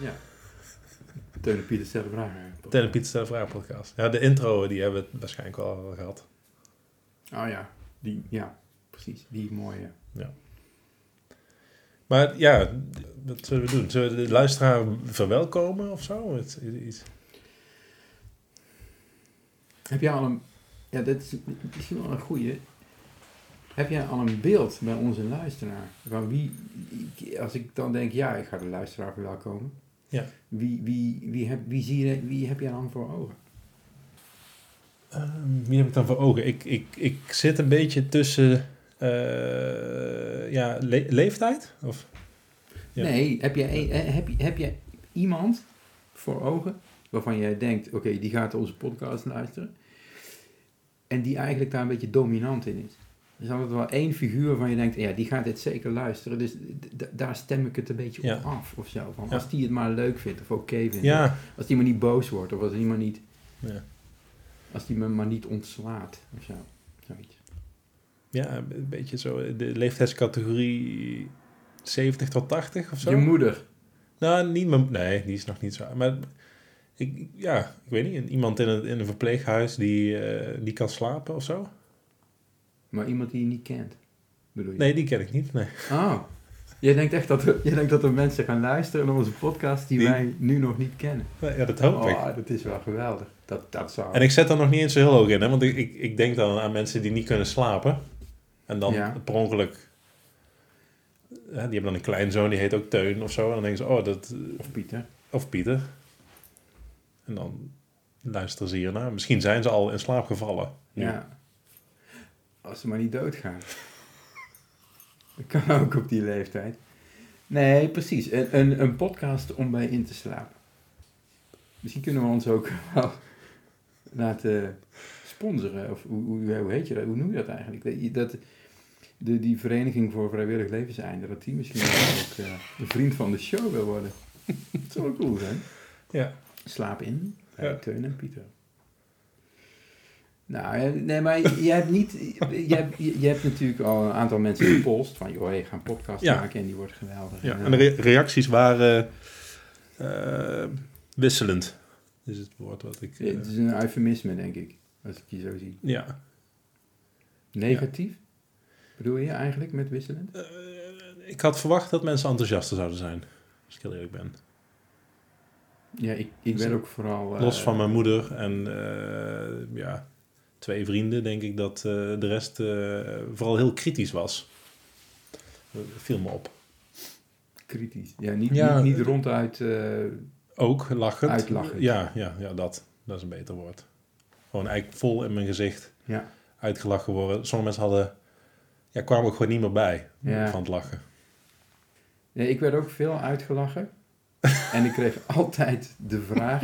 Ja. Teun en Pieter stellen vragen. Tel en Piet stellen vragen podcast. Ja, de intro die hebben we waarschijnlijk al gehad. Oh ja, die, ja, precies. Die mooie. Maar ja, wat zullen we doen? Zullen we de luisteraar verwelkomen of zo? Met iets? Heb jij al een... Ja, dat is misschien wel een goeie. Heb jij al een beeld bij onze luisteraar? Van wie... ik- Als ik dan denk, ja, ik ga de luisteraar verwelkomen. Ja. Wie, wie, wie, heb, wie, zie je, wie heb jij dan voor ogen? Ehm, wie heb ik dan voor ogen? Ik, ik, ik zit een beetje tussen eh, ja, le- leeftijd. Of? Ja. Nee, heb jij, een- eh, heb, je- heb jij iemand voor ogen waarvan jij denkt, oké, die gaat onze podcast luisteren. En die eigenlijk daar een beetje dominant in is. Er is altijd wel één figuur waarvan je denkt, ja, die gaat dit zeker luisteren. Dus d- d- daar stem ik het een beetje Ja. op af of zo. Van, Ja. Als die het maar leuk vindt of oké vindt. Ja. Als die maar niet boos wordt of als die maar niet, ja. als die me maar niet ontslaat of zo. Zoiets. Ja, een beetje zo. De leeftijdscategorie 70 tot 80 of zo. Je moeder. Nou, niet mijn... Nee, die is nog niet zo... Maar ik, ja, ik weet niet. Iemand in een, in een verpleeghuis die, eh, die kan slapen of zo? Maar iemand die je niet kent, bedoel je? Nee, die ken ik niet. Nee. Oh. Jij denkt echt dat er, jij denkt dat er mensen gaan luisteren naar onze podcast die, Die- wij nu nog niet kennen. Ja, dat hoop ik. Oh, dat is wel geweldig. Dat, dat zou... En ik zet er nog niet eens zo heel hoog in, hè? want ik, ik, ik denk dan aan mensen die niet kunnen slapen. En dan Ja. per ongeluk. hè, die hebben dan een kleinzoon, die heet ook Teun of zo. En dan denken ze, oh, dat. Of Pieter. Of Pieter. En dan luisteren ze hiernaar. Misschien zijn ze al in slaap gevallen. nu. Ja. Als ze maar niet doodgaan. Dat kan ook op die leeftijd. Nee, precies. Een, een, een podcast om bij in te slapen. Misschien kunnen we ons ook wel laten sponsoren. Of hoe, hoe, hoe heet je dat? Hoe noem je dat eigenlijk? Dat, dat- de, die Vereniging voor Vrijwillig Levenseinde, dat die misschien wel ook eh, een vriend van de show wil worden. Dat zou wel cool zijn. Ja. Slaap in bij Ja. Teun en Pieter. Nou, eh, nee, maar je hebt niet... Je hebt, je hebt natuurlijk al een aantal mensen gepolst van... joh, hey, ga een podcast Ja. maken en die wordt geweldig. Ja, En, en de re- reacties waren eh, wisselend. Is het woord wat ik. eh, eh, Het is een eufemisme, denk ik, als ik je zo zie. ja. Negatief? Bedoel je eigenlijk met wisselend? Eh, ik had verwacht dat mensen enthousiaster zouden zijn. Als ik heel eerlijk ben. Ja, ik, ik Dus ben ook vooral... eh, Los van mijn moeder en eh, ja, twee vrienden, denk ik dat eh, de rest eh, vooral heel kritisch was. Eh, viel me op. Kritisch. Ja, niet, Ja, niet, niet eh, ronduit... eh, Ook lachend. Uitlachend. Ja, ja, ja dat, dat is een beter woord. Gewoon eigenlijk vol in mijn gezicht ja, uitgelachen worden. Sommige mensen hadden, ja, kwamen ook gewoon niet meer bij Ja. van het lachen. nee, ik werd ook veel uitgelachen. en ik kreeg altijd de vraag...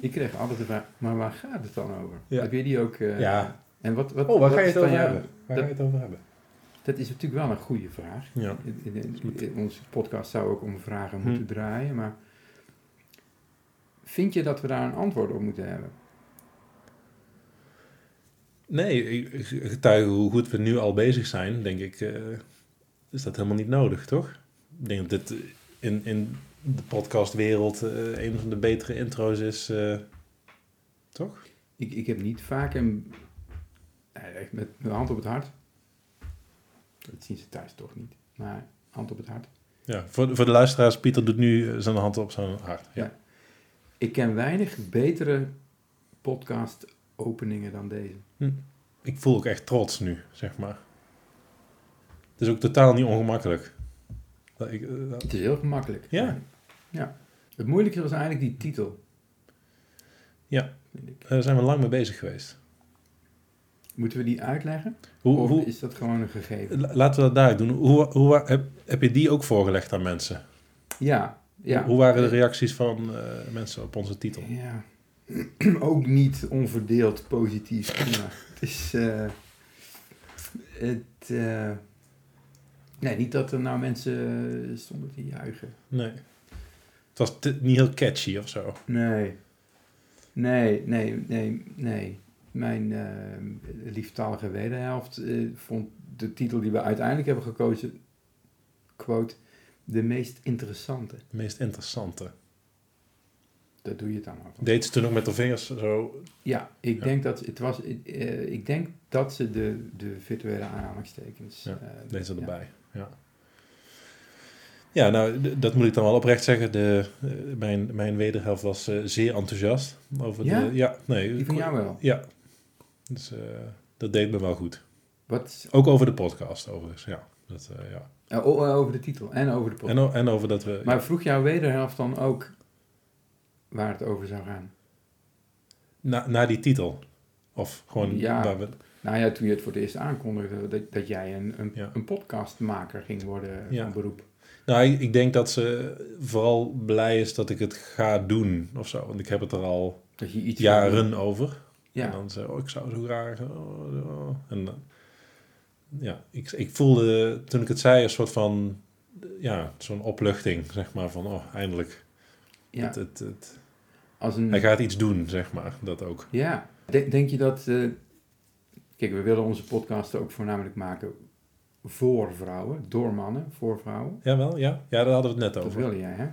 ik kreeg altijd de vraag, maar waar gaat het dan over? Ja. Heb je die ook... eh, Ja. En wat, wat, Oh, waar wat ga je is het dan over jouw- hebben? Waar ga je het over hebben? Dat is natuurlijk wel een goede vraag. Ja. In- in- in- in- Onze podcast zou ook om vragen moeten Hm. draaien, maar vind je dat we daar een antwoord op moeten hebben? Nee, ik- getuige hoe goed we nu al bezig zijn, denk ik, eh, is dat helemaal niet nodig, toch? Ik denk dat dit in, in de podcastwereld eh, een van de betere intro's is, eh, toch? Ik, ik heb niet vaak een. Nee, echt met de hand op het hart. Dat zien ze thuis toch niet. Maar hand op het hart. Ja, voor, de- voor de luisteraars, Pieter doet nu eh, zijn hand op zijn hart. Ja. Ik ken weinig betere podcast-openingen dan deze. Ik voel ook echt trots nu, zeg maar. Het is ook totaal niet ongemakkelijk. Dat ik, eh, dat- Het is heel gemakkelijk. Ja. ja. Het moeilijke was eigenlijk die titel. Ja. Vind ik. daar zijn we lang mee bezig geweest. Moeten we die uitleggen? Hoe, of hoe, Oh, is dat gewoon een gegeven? la- laten we dat daar doen. Hoe, hoe, heb, heb je die ook voorgelegd aan mensen? Ja, ja. Hoe waren de reacties van eh, mensen op onze titel? Ja. Ook niet onverdeeld positief. Maar het is. eh, het. eh, nee, niet dat er nou mensen stonden te juichen. Nee. Het was te- niet heel catchy of zo. Nee. Nee, nee, nee, nee. Mijn eh, lieftalige wederhelft eh, vond de titel die we uiteindelijk hebben gekozen, quote, De meest interessante. Het meest interessante. Dat doe je het allemaal van. Deed ze toen ook met de vingers zo. Ja, ik Ja. denk dat het was. eh, ik denk dat ze de, de virtuele aanhalingstekens. Ja, eh, Deed ze ja. erbij. Ja. Ja, nou, d- dat moet ik dan wel oprecht zeggen. De, eh, mijn, mijn wederhelft was eh, zeer enthousiast over Ja? de... Ja, nee. Die van jou wel. Ja. Dus eh, dat deed me wel goed. Wat, Ook over de podcast, overigens. Ja. Dat, eh, ja. eh, o- over de titel en over de podcast. En, o- en over dat we... Maar vroeg jouw wederhelft dan ook waar het over zou gaan? Na, na die titel. Of gewoon Ja. waar we... Nou ja, toen je het voor het eerst aankondigde dat, dat jij een, een, Ja. een podcastmaker ging worden Ja. van beroep. Nou, ik, ik denk dat ze vooral blij is dat ik het ga doen of zo. Want ik heb het er al Dat je iets jaren over. En Ja, dan zei oh, ik zou zo graag... oh, oh. En dan- ja, ik, ik voelde toen ik het zei een soort van... Ja, zo'n opluchting, zeg maar. Van, oh, eindelijk. ja. Mm. Het, het, het- Als een, hij gaat iets doen, zeg maar. Dat ook. Ja, De- denk je dat... eh, kijk, we willen onze podcast ook voornamelijk maken voor vrouwen, door mannen, voor vrouwen. Jawel, ja. Ja, daar hadden we het net Dat over. wil jij, hè?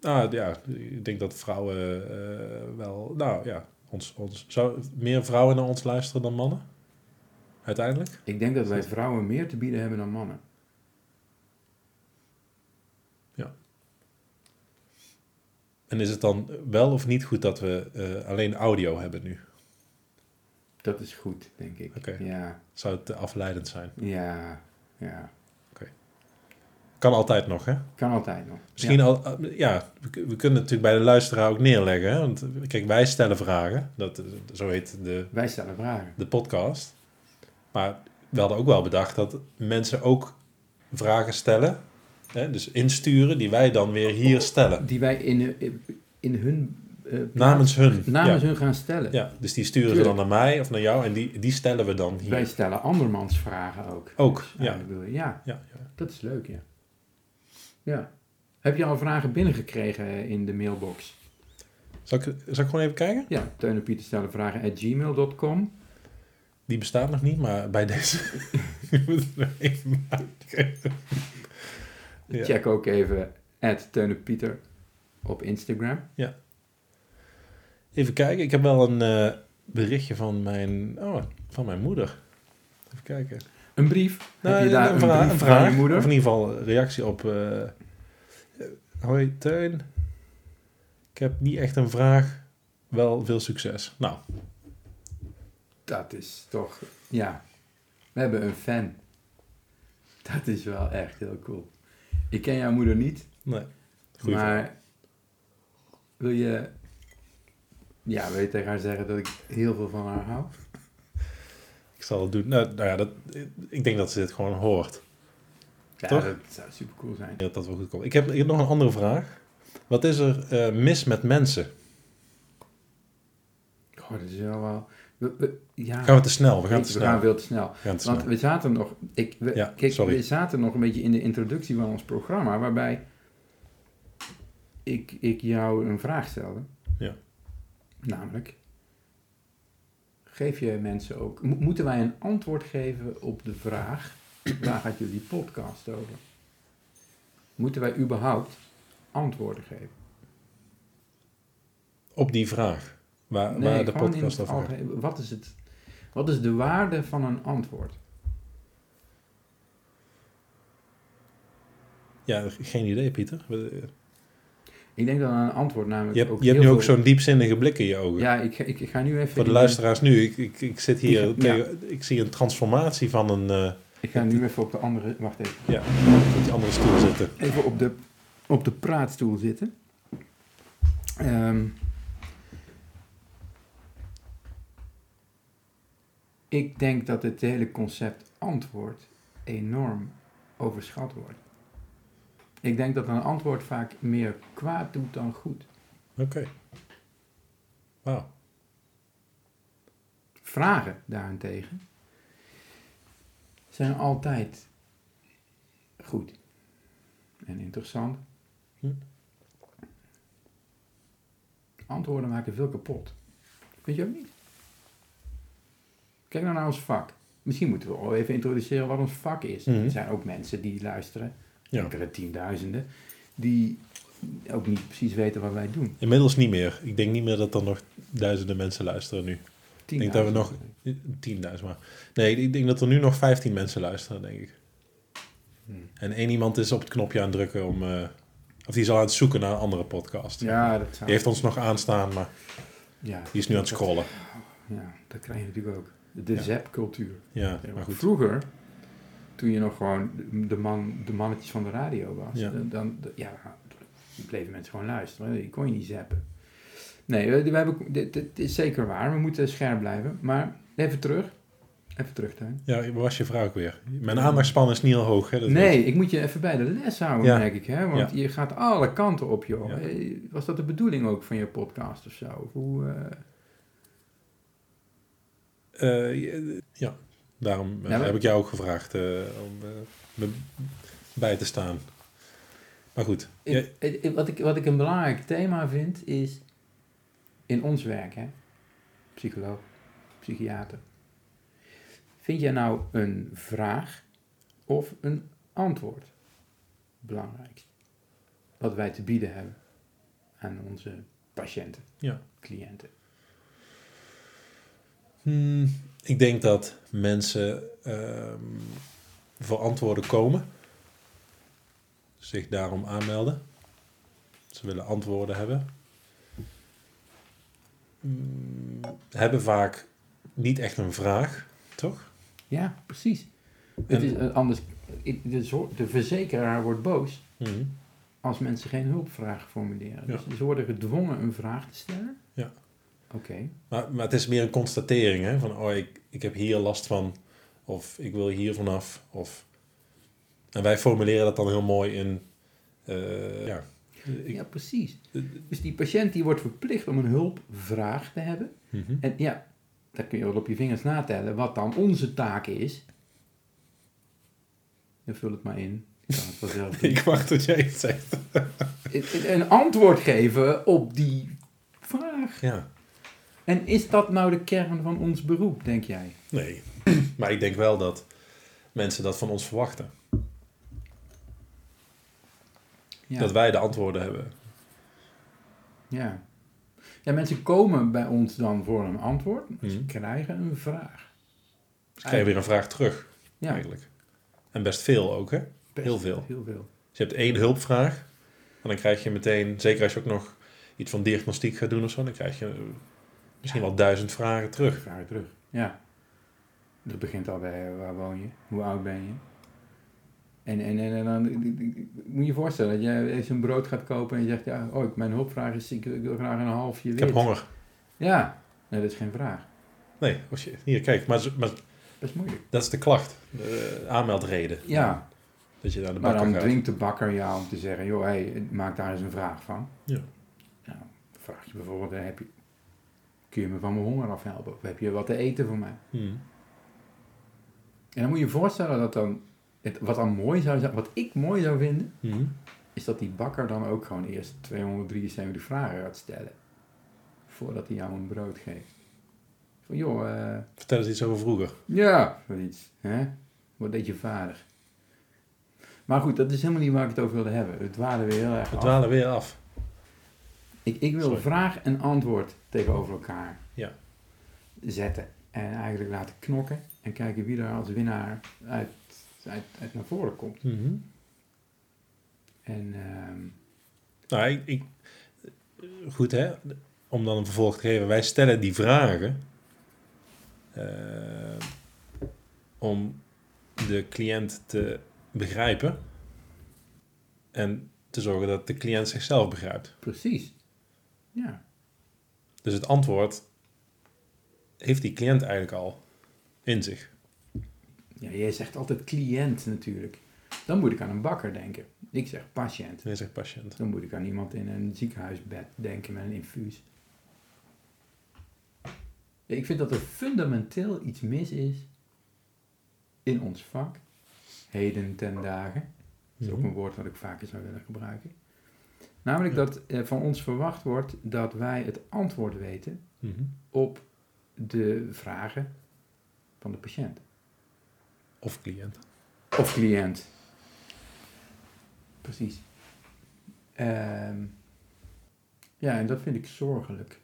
Nou ja, ik denk dat vrouwen eh, wel. Nou ja, ons, ons, zou meer vrouwen naar ons luisteren dan mannen? Uiteindelijk? Ik denk dat wij vrouwen meer te bieden hebben dan mannen. En is het dan wel of niet goed dat we eh, alleen audio hebben nu? Dat is goed, denk ik. Oké. Ja, Zou het te afleidend zijn? ja, ja. Kan altijd nog, hè? Kan altijd nog. Misschien ja. al. eh, ja, we, kun- we kunnen het natuurlijk bij de luisteraar ook neerleggen. Hè? Want eh, kijk, wij stellen vragen. Dat, eh, zo heet de, Wij stellen vragen. de podcast. Maar we hadden ook wel bedacht dat mensen ook vragen stellen. Hè? Dus insturen die wij dan weer hier stellen. Die wij in, eh, in hun... eh, plaats- Namens hun. namens ja. hun gaan stellen. Ja, dus die sturen ze dan naar mij of naar jou en die, die stellen we dan hier. Wij stellen andermans vragen ook. Ook, Dus, Oh, ja. eigenlijk bedoel je- ja. Ja, ja. Dat is leuk, ja. Ja. Heb je al vragen binnengekregen in de mailbox? Zal, ik, zal ik gewoon even kijken? Ja, Teun en Pieter stellen vragen at gmail.com. Die bestaat nog niet, maar bij deze. Ik moet het nog even maken. Ja. Check ook even at Teun en Pieter op Instagram. Even kijken, ik heb wel een eh, berichtje van mijn, oh, van mijn moeder. Even kijken. Een brief. Heb Nou, je daar een, vra- brief een van je moeder? Of in ieder geval een reactie op. eh, eh, Hoi Teun, ik heb niet echt een vraag, wel veel succes. Nou, Dat is toch... Ja. We hebben een fan. Dat is wel echt heel cool. Ik ken jouw moeder niet, nee. Goeie vraag. maar... Wil je... Ja, wil je tegen haar zeggen dat ik heel veel van haar hou? Ik zal het doen. Nou, nou ja, dat, ik denk dat ze dit gewoon hoort. Ja, Toch? dat zou super cool zijn. Dat dat wel goed komt. Ik heb, ik heb nog een andere vraag. Wat is er eh, mis met mensen? Ah. Goh, dat is wel wel... we- we- ja, Gaan we te snel? We gaan weet te je, we snel. gaan veel te snel. We gaan te Want snel. we zaten nog... Ik, we, Ja, kijk, sorry. we zaten nog een beetje in de introductie van ons programma... waarbij ik, ik jou een vraag stelde. Ja. Namelijk... Geef je mensen ook... mo- moeten wij een antwoord geven op de vraag... waar gaat jullie podcast over? Moeten wij überhaupt antwoorden geven? Op die vraag. Waar, waar Nee, Eh, de gewoon in podcast het over gaat. algemeen. Wat is, het, wat is de waarde van een antwoord? Ja, geen idee, Pieter. We- Ik denk dat een antwoord namelijk Je hebt, ook je hebt nu heel ook veel- zo'n diepzinnige blik in je ogen. Ja, ik, ga- ik, ik ga nu even... Voor de in- luisteraars nu, ik, ik, ik zit hier, Ja. tegen- ik zie een transformatie van een... eh, Ik ga nu even op de andere... Wacht even. ja, op die andere stoel zitten. Even op de, op de praatstoel zitten. Ehm, ik denk dat het hele concept antwoord enorm overschat wordt. Ik denk dat een antwoord vaak meer kwaad doet dan goed. Oké. Wauw. Vragen daarentegen zijn altijd goed en interessant. Hm. Antwoorden maken veel kapot. Vind je ook niet? Kijk nou naar ons vak. Misschien moeten we al even introduceren wat ons vak is. Mhm. Er zijn ook mensen die luisteren Ja. enkele tienduizenden, die ook niet precies weten wat wij doen. Inmiddels niet meer. Ik denk niet meer dat er nog duizenden mensen luisteren nu. Ik denk dat we nog... 10.000 maar. Nee, ik denk dat er nu nog 15 mensen luisteren, denk ik. Hmm. En één iemand is op het knopje aan het drukken om... eh, of die is al aan het zoeken naar een andere podcast. Ja, dat zou... Die heeft ons nog aanstaan, maar ja, die is nu aan het dat- scrollen. Ja, dat krijg je natuurlijk ook. De Ja. zapcultuur. Ja, maar goed. Vroeger, toen je nog gewoon de, man, de mannetjes van de radio was, Ja. dan, dan ja, bleven mensen gewoon luisteren. Je kon je niet zappen. Nee, we, we hebben, dit, dit is zeker waar. We moeten scherp blijven. Maar even terug. Even terug, Tuin. Ja, waar was je vraag ook weer? Mijn aandachtspannen is niet heel hoog, hè? dat weet Nee, ik moet je even bij de les houden, Ja. merk ik. Hè? Want je gaat alle kanten op, joh. Ja. Eh, Was dat de bedoeling ook van je podcast of zo? Of hoe, eh, Eh, ja, daarom eh, Ja, maar- heb ik jou ook gevraagd eh, om eh, me bij te staan. Maar goed, jij- Ik- ik- ik- wat, ik, wat ik een belangrijk thema vind is in ons werk, hè? psycholoog, psychiater. Vind jij nou een vraag of een antwoord belangrijk? Wat wij te bieden hebben aan onze patiënten, Ja. cliënten. hmm, ik denk dat mensen ehm, voor antwoorden komen, zich daarom aanmelden. Ze willen antwoorden hebben. Hmm, hebben vaak niet echt een vraag, toch? Ja, precies. Het En- is, eh, anders, ik- de, zor- de verzekeraar wordt boos Hmm. als mensen geen hulpvraag formuleren. Ja. Dus ze worden gedwongen een vraag te stellen. Ja. Oké. Maar, maar het is meer een constatering, hè? Van, oh, ik, ik heb hier last van. Of ik wil hier vanaf. Of... En wij formuleren dat dan heel mooi in... eh, ja. Ik- Ja, precies. eh, Dus die patiënt die wordt verplicht om een hulpvraag te hebben. mhm. En ja, daar kun je wel op je vingers natellen wat dan onze taak is. Dan vul het maar in. Ik kan het wel zelf doen. Ik wacht tot jij het zegt. Het- Een antwoord geven op die vraag. Ja, En is dat nou de kern van ons beroep, denk jij? nee. Maar ik denk wel dat mensen dat van ons verwachten. Ja. Dat wij de antwoorden hebben. Ja. ja, mensen komen bij ons dan voor een antwoord. maar Ze Mhm. krijgen een vraag. Dus krijg je weer een vraag terug, Ja, eigenlijk. En best veel ook, hè? best heel veel. Heel veel. Dus je hebt één hulpvraag. En dan krijg je meteen, zeker als je ook nog iets van diagnostiek gaat doen of zo, dan krijg je eh, misschien wel duizend vragen terug. Vragen terug. Ja. Dat begint al bij eh, waar woon je, hoe oud ben je. En, en, en, en dan moet je je voorstellen dat jij eens een brood gaat kopen en je zegt, ja, oh, ik- mijn hulpvraag is, ik, ik wil graag een halfje Ik wit. heb honger. Ja, nee, dat is geen vraag. Nee, oh shit. hier, kijk, maar, maar Dat is moeilijk. dat is de klacht. De aanmeldreden. Ja, Dat je naar de maar bakker dan gaat. dwingt de bakker jou om te zeggen, joh, hey, maak daar eens een vraag van. Ja. Nou, vraag je bijvoorbeeld, eh, heb je, kun je me van mijn honger afhelpen? Of heb je wat te eten voor mij? Hmm. En dan moet je je voorstellen dat dan, het, wat dan mooi zou zijn, wat ik mooi zou vinden, Hmm. is dat die bakker dan ook gewoon eerst 273 vragen gaat stellen. Voordat hij jou een brood geeft. Van joh, eh, Vertel eens iets over vroeger. ja, zoiets. Hè? Wat deed je vader? Maar goed, dat is helemaal niet waar ik het over wilde hebben. Het waren weer heel erg We af. dwalen weer af. Ik, ik wil Sorry. vraag en antwoord tegenover elkaar Ja. zetten. En eigenlijk laten knokken. En kijken wie er als winnaar uit, uit, uit naar voren komt. Mhm. En ehm, Nou, ik, ik, goed hè, om dan een vervolg te geven. Wij stellen die vragen eh, om de cliënt te begrijpen en te zorgen dat de cliënt zichzelf begrijpt. precies. Ja. Dus het antwoord heeft die cliënt eigenlijk al in zich. Ja, jij zegt altijd cliënt natuurlijk. Dan moet ik aan een bakker denken. Ik zeg patiënt. Hij zegt patiënt. Dan moet ik aan iemand in een ziekenhuisbed denken met een infuus. Ja, Ik vind dat er fundamenteel iets mis is in ons vak. Heden ten dagen. Dat is ook een woord wat ik vaker zou willen gebruiken. Namelijk Ja. dat eh, van ons verwacht wordt dat wij het antwoord weten Mhm. op de vragen van de patiënt. Of cliënt. Of cliënt. precies. Ehm, ja, en dat vind ik zorgelijk.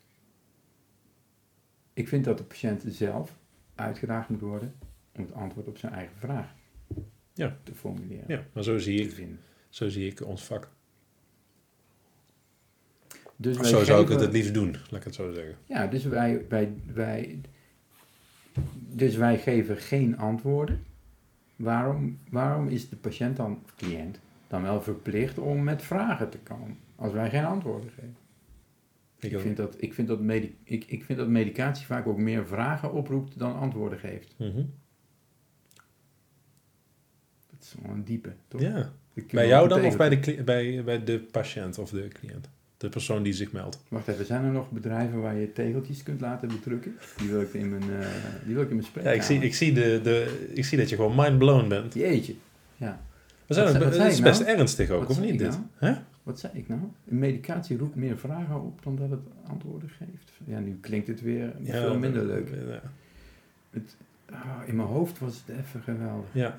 Ik vind dat de patiënt zelf uitgedaagd moet worden om het antwoord op zijn eigen vraag Ja. te formuleren. Ja, maar zo zie Te ik, vinden. zo zie ik ons vak. Dus wij Zo zou ik het geven- het liefst doen, laat ik het zo zeggen. Ja, dus wij, wij, wij, dus wij geven geen antwoorden. Waarom, waarom is de patiënt dan, of cliënt, dan wel verplicht om met vragen te komen als wij geen antwoorden geven? Ik, ook. vind, dat, ik, vind, dat medi- ik, ik vind dat medicatie vaak ook meer vragen oproept dan antwoorden geeft. Mhm. Dat is wel een diepe, toch? Ja. Dat kun je Bij wel jou dan of betekenen. bij de, cli- bij, bij de patiënt of de cliënt? De persoon die zich meldt. Wacht even, zijn er nog bedrijven waar je tegeltjes kunt laten bedrukken? Die wil ik in mijn, eh die wil ik in mijn Ja, ik, zie, spreekkamer. ik, zie de, de, ik zie dat je gewoon mind blown bent. Jeetje, ja. We zijn, Wat zei- ook- wat het zei is ik best nou? ernstig ook, Wat of zei niet? ik Dit? nou? Hè? Wat zei ik nou? Een medicatie roept meer vragen op dan dat het antwoorden geeft. Ja, nu klinkt het weer veel dat- minder leuk. Ja. Ah, in mijn hoofd was het even geweldig. Ja.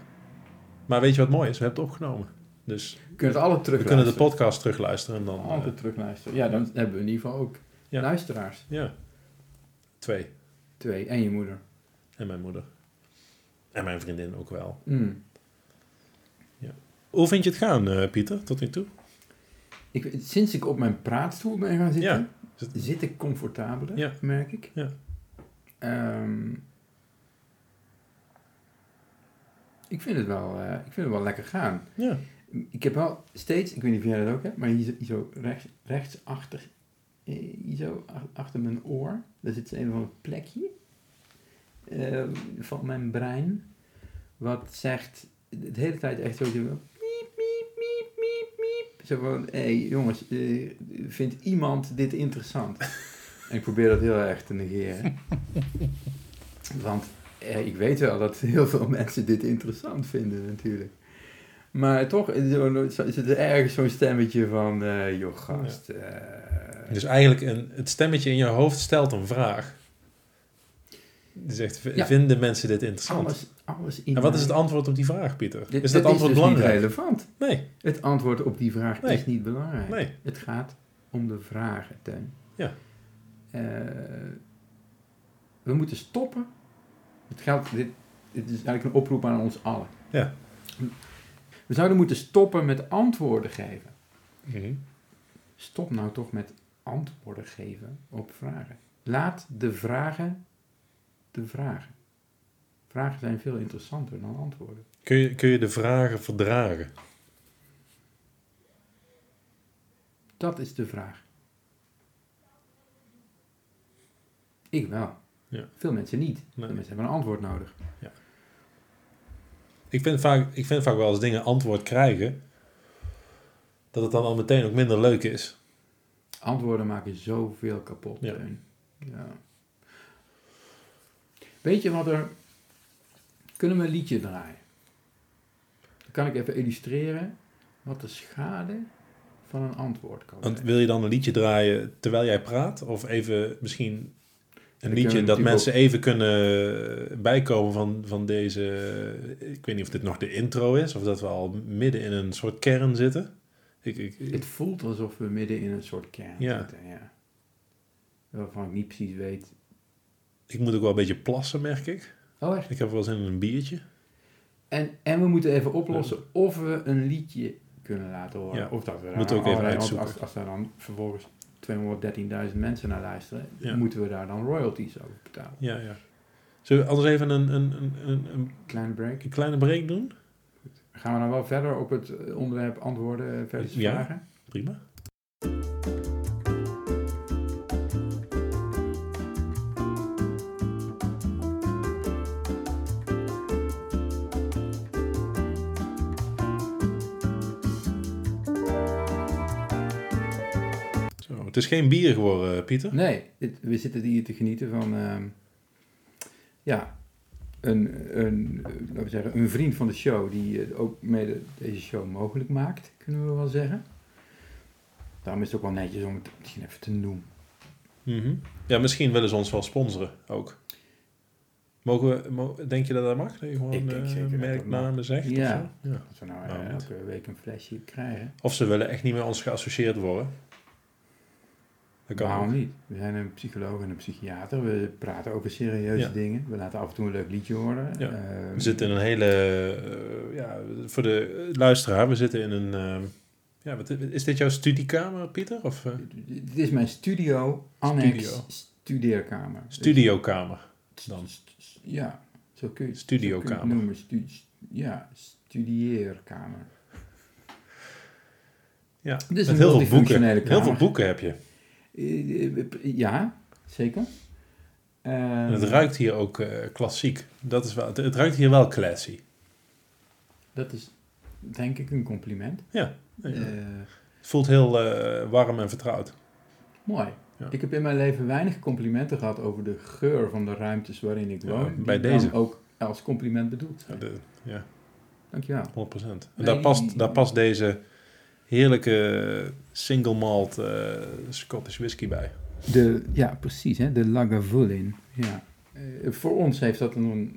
Maar weet je wat mooi is? We hebben het opgenomen. Dus Je kunt het alle we kunnen de terugluisteren. podcast terugluisteren en dan... eh, Altijd terugluisteren. Ja, dan hebben we in ieder geval ook Ja. luisteraars. ja. Twee. Twee. En je moeder. En mijn moeder. En mijn vriendin ook wel. Mm. Hoe vind je het gaan, eh, Pieter, tot nu toe? Ik, sinds ik op mijn praatstoel ben gaan zitten, Is het- zit ik comfortabeler, Ja. merk ik. Ja. Ehm, ik, vind het wel, eh, ik vind het wel lekker gaan. Ja. Ik heb wel steeds, ik weet niet of jij dat ook hebt, maar hier, zo- hier zo rechts, rechts achter, eh, hier zo ach- achter mijn oor, daar zit een of ander plekje eh, van mijn brein, wat zegt de hele tijd echt zo, zo van, miep, miep, miep, miep, miep. Zo van, hé jongens, eh, vindt iemand dit interessant? en ik probeer dat heel erg te negeren. Want eh, ik weet wel dat heel veel mensen dit interessant vinden natuurlijk. Maar toch is er- zo- zit er ergens zo'n stemmetje van... eh joh, gast. eh, Dus eigenlijk een, het stemmetje in je hoofd stelt een vraag. Die zegt, v- Ja. vinden mensen dit interessant? alles, alles in En wat is mij- het antwoord op die vraag, Pieter? Dit- is dat dit antwoord dus belangrijk? niet relevant. Nee, Het antwoord op die vraag Nee. is niet belangrijk. nee. Het gaat om de vragen, Teun. Ja. Eh, we moeten stoppen. Het geldt, dit, dit is eigenlijk een oproep aan ons allen. Ja. We zouden moeten stoppen met antwoorden geven. Mhm. Stop nou toch met antwoorden geven op vragen. Laat de vragen de vragen. Vragen zijn veel interessanter dan antwoorden. Kun, je, kun je de vragen verdragen? Dat is de vraag. Ik wel. Ja. Veel mensen niet. Nee. Veel mensen hebben een antwoord nodig. Ik vind, vaak, ik vind vaak wel als dingen antwoord krijgen, dat het dan al meteen ook minder leuk is. Antwoorden maken zoveel kapot. Ja. Teun. Ja. Weet je wat er. Kunnen we een liedje draaien? Dan kan ik even illustreren wat de schade van een antwoord kan zijn. Want wil je dan een liedje draaien terwijl jij praat? Of even misschien een kunnen liedje dat natuurlijk mensen even kunnen bijkomen van, van deze... Ik weet niet of dit nog de intro is of dat we al midden in een soort kern zitten. Ik, ik, Het voelt alsof we midden in een soort kern Ja. zitten. Ja. Waarvan ik niet precies weet. ik moet ook wel een beetje plassen, merk ik. Oh, echt? Ik heb wel zin in een biertje. En, en we moeten even oplossen of we een liedje kunnen laten horen. Ja, Of dat we daar moeten we ook even allerlei- uitzoeken. Als, als daar dan vervolgens 213.000 mensen naar luisteren, Ja. moeten we daar dan royalties over betalen. Ja, ja. Zullen we anders even een, een, een, een, een- Kleine break. een kleine break doen? Gaan we dan wel verder op het eh, onderwerp antwoorden eh, versus Ja. vragen? Prima. Zo, het is geen bier geworden, eh, Pieter. Nee, dit- we zitten hier te genieten van, ehm, ja, een, een, eh, laten we zeggen, een vriend van de show die eh, ook mede deze show mogelijk maakt, kunnen we wel zeggen. Daarom is het ook wel netjes om het misschien even te noemen. Mhm. Ja, misschien willen ze ons wel sponsoren ook. Mogen we, mo- denk je dat dat mag? Dat je gewoon Ik denk eh, zeker dat dat merknamen zegt? of Ja. zo? ja. Als we nou, Nou, eh, goed. elke week een flesje krijgen. Of ze willen echt niet meer ons geassocieerd worden. Dat kan Waarom ook. niet? We zijn een psycholoog en een psychiater. We praten over serieuze Ja. dingen. We laten af en toe een leuk liedje horen. Ja. Eh, We zitten in een hele... eh, ja, voor de luisteraar, we zitten in een... eh, ja, wat, is dit jouw studiekamer, Pieter? Of eh, Dit is mijn studio, annex, Studio. studeerkamer. Dus- studiokamer? Dan. Ja, zo kun je zo kun je het Studiokamer. noemen. Stu- st- ja, studieerkamer. Ja, Het is met een heel veel boeken. multifunctionele Heel veel kamer. boeken heb je. Eh, eh, Ja, zeker. En het Ehm, ruikt hier ook eh, klassiek. Dat is wel, het, het ruikt hier wel classy. Eh, Dat is denk ik een compliment. Ja. Eh, het voelt heel eh, warm en vertrouwd. mooi. Ja. Ik heb in mijn leven weinig complimenten gehad over de geur van de ruimtes waarin ik Ja, woon. die bij dan deze. ook als compliment bedoeld. Ja, de- ja Dankjewel. 100%. En Nee, daar, die- past, daar past deze heerlijke single malt eh, Scottish whisky bij. De, ja, precies, hè, de Lagavulin. Ja. Eh, voor ons heeft dat een, De nog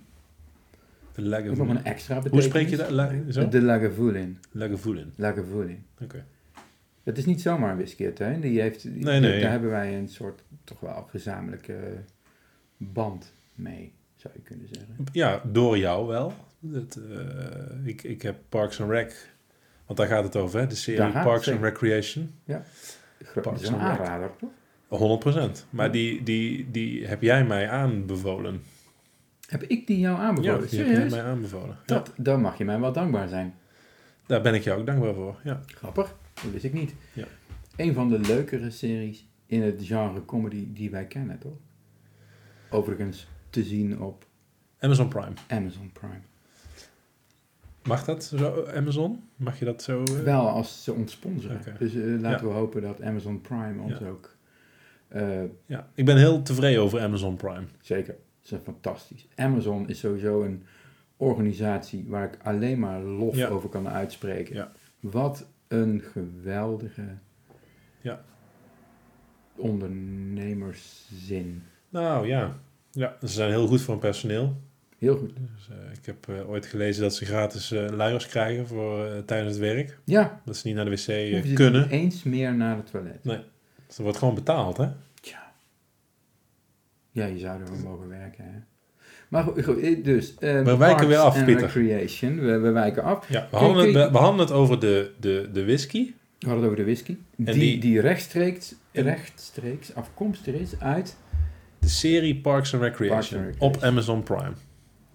een Lagavulin. extra betekenis. Hoe spreek je dat? La, zo? De Lagavulin. Lagavulin. Lagavulin. Oké. Het is niet zomaar een whisky, hè? Die heeft, die- Nee, nee. Daar hebben wij een soort toch wel gezamenlijke band mee, zou je kunnen zeggen. Ja, door jou wel. Dat, eh, ik, ik heb Parks and Rec. Want daar gaat het over, hè? De Daar serie gaat het Parks and zeker. Recreation. Gro- Dat is Parks een and Rec. aanrader, toch? 100%. Maar Ja. die, die, die heb jij mij aanbevolen. Heb ik die jou Ja, aanbevolen? die heb jij Serieus? mij aanbevolen. Ja, Dat, dan mag je mij wel dankbaar zijn. daar ben ik jou ook dankbaar voor. Ja. Grappig, dat wist ik niet. Ja. Een van de leukere series in het genre comedy die wij kennen, toch? Overigens te zien op Amazon Prime. Amazon Prime. Mag dat zo, Amazon? Mag je dat zo? eh? Wel als ze ons sponsoren. Oké. Dus eh, laten Ja. we hopen dat Amazon Prime ons Ja. ook... eh, Ja, ik ben heel tevreden over Amazon Prime. zeker, ze zijn fantastisch. Amazon is sowieso een organisatie waar ik alleen maar lof Ja. over kan uitspreken. Ja. Wat een geweldige Ja. ondernemerszin. Nou ja. ja, ze zijn heel goed voor hun personeel. Heel goed. Dus, eh, ik heb eh, ooit gelezen dat ze gratis eh luiers krijgen voor, eh, tijdens het werk. Ja, Dat ze niet naar de wc eh, hoeven ze kunnen. niet eens meer naar het toilet. Dus er wordt gewoon betaald, hè? Tja. Ja, je zou er wel mogen werken, hè. Maar goed, goed, eh, dus... eh, We wijken weer Parks af, and Pieter. Recreation, we, we wijken af. Ja, we hadden, het, kun je- we- we hadden het over de, de, de whisky. We hadden het over de whisky. Die, die- die... rechtstreeks, En- rechtstreeks afkomstig is uit De serie Parks and Recreation. Parks and Recreation. Op Amazon Prime.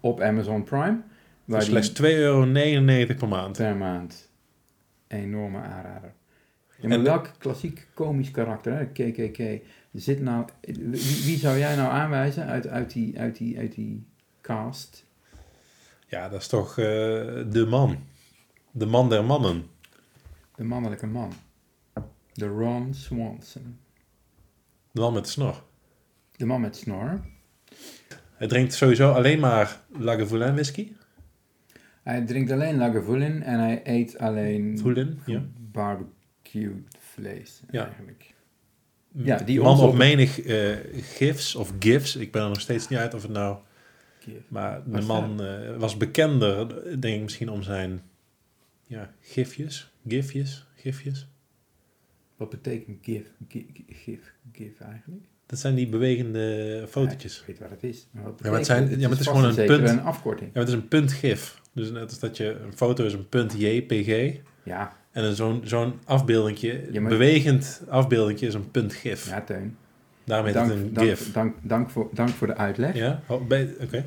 op Amazon Prime. Voor Waar die slechts 2,99 euro per maand. per maand. Enorme aanrader. Ja, En- maar welk klassiek komisch karakter, hè? KKK, zit nou... Wie, wie zou jij nou aanwijzen uit, uit, die, uit, die, uit die cast? Ja, dat is toch eh, de man. De man der mannen. De mannelijke man. De Ron Swanson. De man met de snor. De man met snor. Hij drinkt sowieso alleen maar Lagavulin whisky. Hij drinkt alleen Lagavulin en hij eet alleen Vulin, ja. barbecued vlees Ja. eigenlijk. Ja, die man ons op op- menig eh, gifs of gifs. Ik ben er nog steeds niet uit of het nou... Maar de Waar man eh, was bekender, denk ik misschien, om zijn ja, gifjes. Gifjes, gifjes. Wat betekent give, give, give, give eigenlijk? Dat zijn die bewegende fotootjes. Ik weet waar het is. Maar wat Ja, maar het betekent zijn- ja, maar het is gewoon vast een zeker punt. een afkorting. Ja, het is een punt gif. Dus net als dat je een foto is een punt JPG. Ja, En een zo'n zo'n afbeeldingje, Ja, maar- bewegend afbeeldingje is een punt gif. ja Teun. Daarmee is Dank, het een dank, gif. dank, dank, voor, dank voor de uitleg. Ja? Oh, bij- Oké.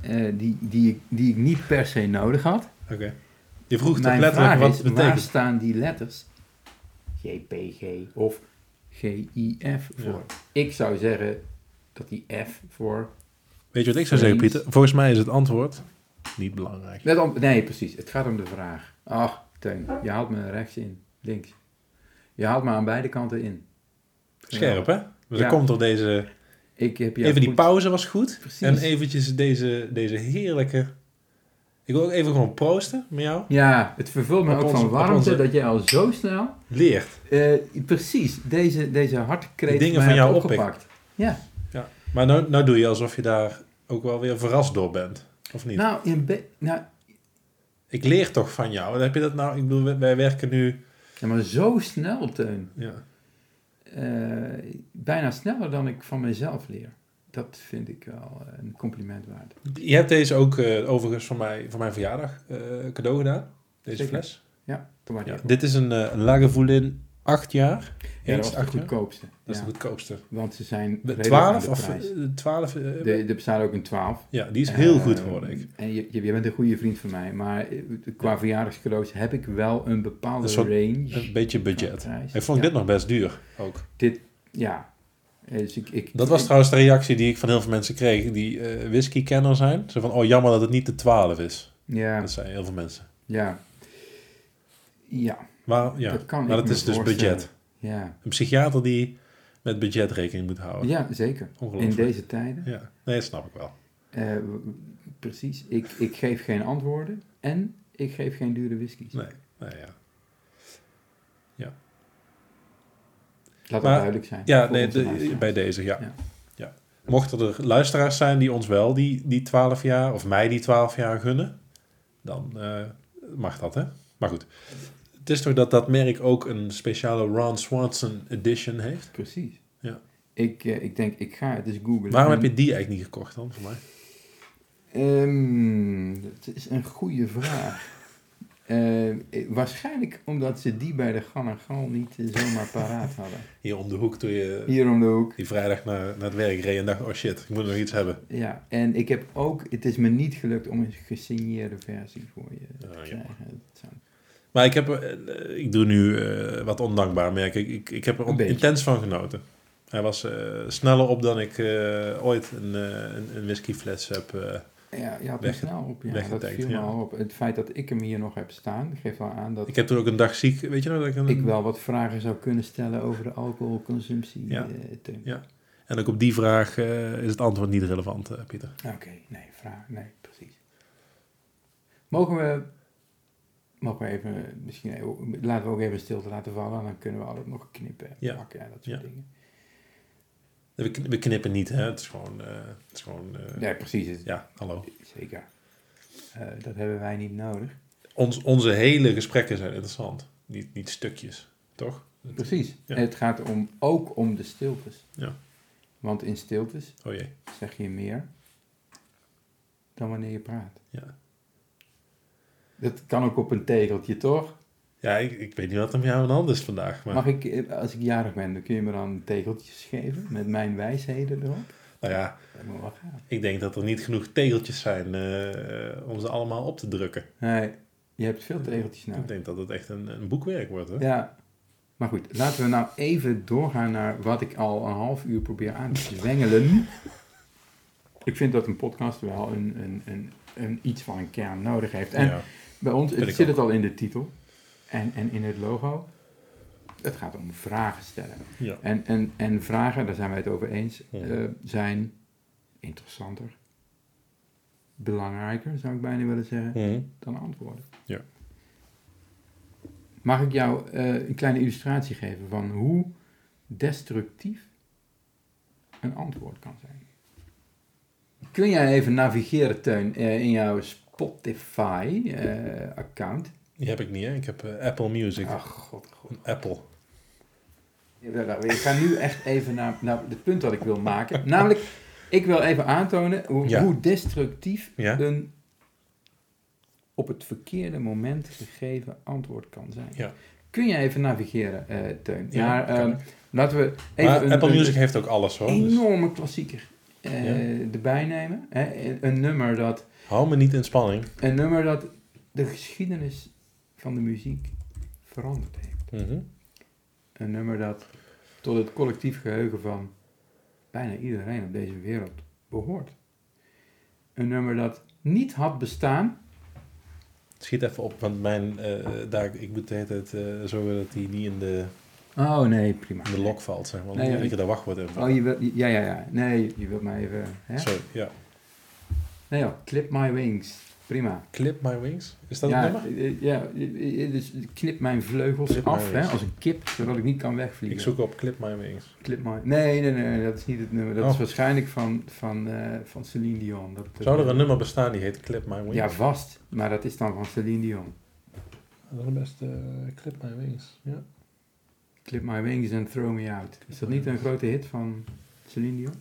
eh, die, die, ik- die ik niet per se nodig had. Oké. Je vroeg toch Mijn letterlijk vraag wat is, het waar betekent. staan die letters JPG of GIF voor? Ik zou zeggen dat die F voor... Weet je wat ik zou zeggen, Eens. Pieter? Volgens mij is het antwoord niet belangrijk. Let om, nee, precies. Het gaat om de vraag. Ach, Teun, je haalt me rechts in. Links. Je haalt me aan beide kanten in. Scherp, hè? Ja. Dus dan komt er deze... Ik heb jou even die goed- pauze was goed. Precies. En eventjes deze, deze heerlijke... Ik wil ook even gewoon proosten met jou. Ja, het vervult me Op ook onze- van op warmte onze- dat jij al zo snel... Leert. eh, precies, deze, deze hartkreet Die dingen mij van jou hebt oppikken. opgepakt. Ja, Maar nou, nou doe je alsof je daar ook wel weer verrast door bent. Of niet? Nou, in be- nou Ik leer toch van jou. Heb je dat nou? Ik bedoel, wij- wij werken nu. ja, maar zo snel, Teun. Ja. Eh, bijna sneller dan ik van mezelf leer. Dat vind ik wel eh, een compliment waard. Je hebt deze ook eh, overigens voor, mij, voor mijn verjaardag eh, cadeau gedaan. Deze Zeker. fles. Ja, te waarderen. Ja. Dit is een eh Lagavulin 8 jaar. Ja, dat was Eens de acht jaar. goedkoopste. Dat is Ja, de goedkoopste. Want ze zijn De redelijk aan 12 de of prijs. eh, 12. eh, De- Er bestaat ook een 12. ja, die is heel Eh, goed geworden. Ik. En je, je, je bent een goede vriend van mij, maar eh, qua verjaardagscadeaus heb ik wel een bepaalde Een soort- range. Een beetje budget. van prijs. Ik vond ja. dit nog best duur ook. Ja. Eh, Dus ik, ik, Dat was ik- trouwens de reactie die ik van heel veel mensen kreeg die eh whisky-kenner zijn. Zo van, oh jammer dat het niet de 12 is. Ja, Dat zeiden heel veel mensen. ja. Ja, Maar ja, dat kan maar ik dat me is dus voorstellen. budget. Ja, Een psychiater die met budget rekening moet houden. ja zeker. In Ongelooflijk. deze tijden. Ja, nee, dat snap ik wel. Eh, w- w- precies. Ik, ik geef geen antwoorden en ik geef geen dure whiskies. Nee, nee ja. Laat dat Maar- duidelijk zijn. Ja, voor nee, onze de- eh, luisteraars. bij deze, ja. ja. Ja. Mochten er luisteraars zijn die ons wel die, die 12 jaar, of mij die 12 jaar gunnen, dan eh, mag dat, hè? Maar goed. Het is toch dat dat merk ook een speciale Ron Swanson edition heeft? Precies. Ja. Ik, eh, ik denk, ik ga het eens googlen. Waarom heb En- je die eigenlijk niet gekocht dan, voor mij? Ehm, dat is een goede vraag. Eh, eh, waarschijnlijk omdat ze die bij de Gan en Gal niet eh, zomaar paraat hadden. Hier om de hoek toen je Hier om de hoek. die vrijdag naar, naar het werk reed en dacht, oh shit, ik moet nog iets hebben. Ja, en ik heb ook, het is me niet gelukt om een gesigneerde versie voor je te Ah, ja. krijgen. Dat zou- Maar ik, heb, er- eh, ik doe nu eh, wat ondankbaar, merk ik. Ik, ik heb er Een beetje. intens van genoten. Hij was eh, sneller op dan ik eh, ooit een, eh, een, een whiskyfles heb. eh. Ja, je had hem Wegge- snel op. Ja, dat weggetankt, viel me ja. al op. Het feit dat ik hem hier nog heb staan, geeft wel aan dat ik heb toen ook een dag ziek, weet je nog? Dat ik, een- ik wel wat vragen zou kunnen stellen over de alcoholconsumptie. Ja. eh, Teun. Ja. En ook op die vraag eh, is het antwoord niet relevant, eh, Pieter. Oké, nee, vraag, nee, precies. Mogen we, mogen we even, misschien, even- laten we ook even stilte laten vallen, en dan kunnen we altijd nog knippen en Ja. plakken en dat soort Ja. dingen. We, kn- we knippen niet, hè? Het is gewoon... eh, het is gewoon eh, Nee, precies, het- Ja, hallo. zeker. Eh, dat hebben wij niet nodig. Ons, onze hele gesprekken zijn interessant. Niet, niet stukjes, toch? Precies, Ja. het gaat om, ook om de stiltes. Ja. Want in stiltes Oh jee, zeg je meer dan wanneer je praat. ja. Dat kan ook op een tegeltje, toch? Ja, ik, ik weet niet wat er met jou aan de hand is vandaag. Maar Mag ik, eh, als ik jarig ben, dan kun je me dan tegeltjes geven met mijn wijsheden erop? nou ja, Dat moet wel gaan. ik denk dat er niet genoeg tegeltjes zijn eh, om ze allemaal op te drukken. Nee, je hebt veel tegeltjes Ik nodig. denk dat het echt een, een boekwerk wordt. Hè? Ja. Maar goed, laten we nou even doorgaan naar wat ik al een half uur probeer aan te zwengelen. Ik vind dat een podcast wel een, een, een, een, iets van een kern nodig heeft. En Ja. bij ons Vind het ik zit ook. het al in de titel en, en in het logo. Het gaat om vragen stellen. Ja. En, en, en vragen, daar zijn wij het over eens, Ja. eh, zijn interessanter, belangrijker, zou ik bijna willen zeggen, Mhm. dan antwoorden. Ja. Mag ik jou eh, een kleine illustratie geven van hoe destructief een antwoord kan zijn? Kun jij even navigeren, Teun, eh, in jouw Spotify-account? Die heb ik niet, hè? Ik heb eh, Apple Music. Ach, god, god. Een Apple. Ja, nou, Ik ga nu echt even naar, naar het punt dat ik wil maken. Namelijk, ik wil even aantonen hoe, Ja. hoe destructief Ja. een op het verkeerde moment gegeven antwoord kan zijn. Ja. Kun jij even navigeren, eh, Teun? Ja, naar, kan ehm, ik. laten we even Maar een, Apple een Music heeft ook alles, hoor. Dus enorme klassieker eh, erbij nemen. Hè? Een- Een, nummer dat, hou me niet in spanning. een nummer dat de geschiedenis van de muziek veranderd heeft. Mhm. Een nummer dat tot het collectief geheugen van bijna iedereen op deze wereld behoort. Een nummer dat niet had bestaan. Schiet even op, want mijn, eh, daar, ik moet de hele tijd eh, zorgen dat hij niet in de, Oh nee, prima. in de lok valt, zeg maar. Nee, Nee, ja. Ik daar wachtwoord in val. Oh, je wil, ja, ja, ja. Nee, je wilt mij even... Hè? Sorry, ja. Nee joh, Clip My Wings. Prima. Clip My Wings? Is dat het Ja, nummer? eh, ja, eh, eh, dus knip mijn vleugels Knip af mijn hè, wings. als een kip, zodat ik niet kan wegvliegen. Ik zoek op Clip My Wings. Clip my... nee, nee, nee, dat is niet het nummer. Dat Oh. is waarschijnlijk van, van, eh, van Celine Dion. Dat, dat- Zou er een nummer bestaan die heet Clip My Wings? Ja, vast. Maar dat is dan van Celine Dion. Dat is best eh, Clip My Wings. Ja. Clip my wings and throw me out. Is dat niet een grote hit van Celine Dion?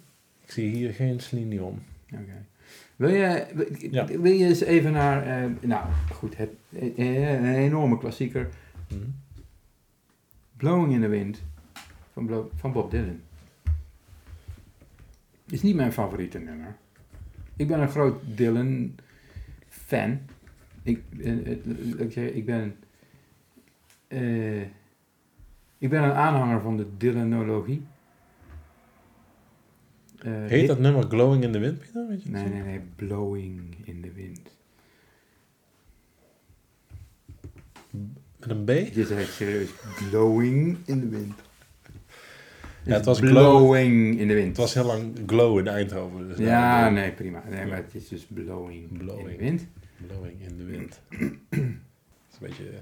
Ik zie hier geen Celine Dion. Oké. Wil, je, wil- Ja. wil je eens even naar... eh, nou, goed. Het, eh, eh, een enorme klassieker. Hm. Blowing in the Wind van, Blo- van Bob Dylan. Is niet mijn favoriete nummer. Ik ben een groot Dylan-fan. Ik, eh, eh, laat ik, zeggen, ik ben... eh, ik ben een aanhanger van de Dylanologie. Eh, Heet dat nummer Glowing in the Wind, Pieter? Weet je het Nee, zo? nee, nee. Blowing in the wind. Met een B? Je zegt serieus. Blowing in the wind. Dus Ja, het was blowing in de wind. Het was heel lang Glow in Eindhoven. Dus ja, daar- nee, prima. Nee, maar het is dus blowing, in de Blowing. wind. Blowing in the Wind. Dat is een beetje... eh,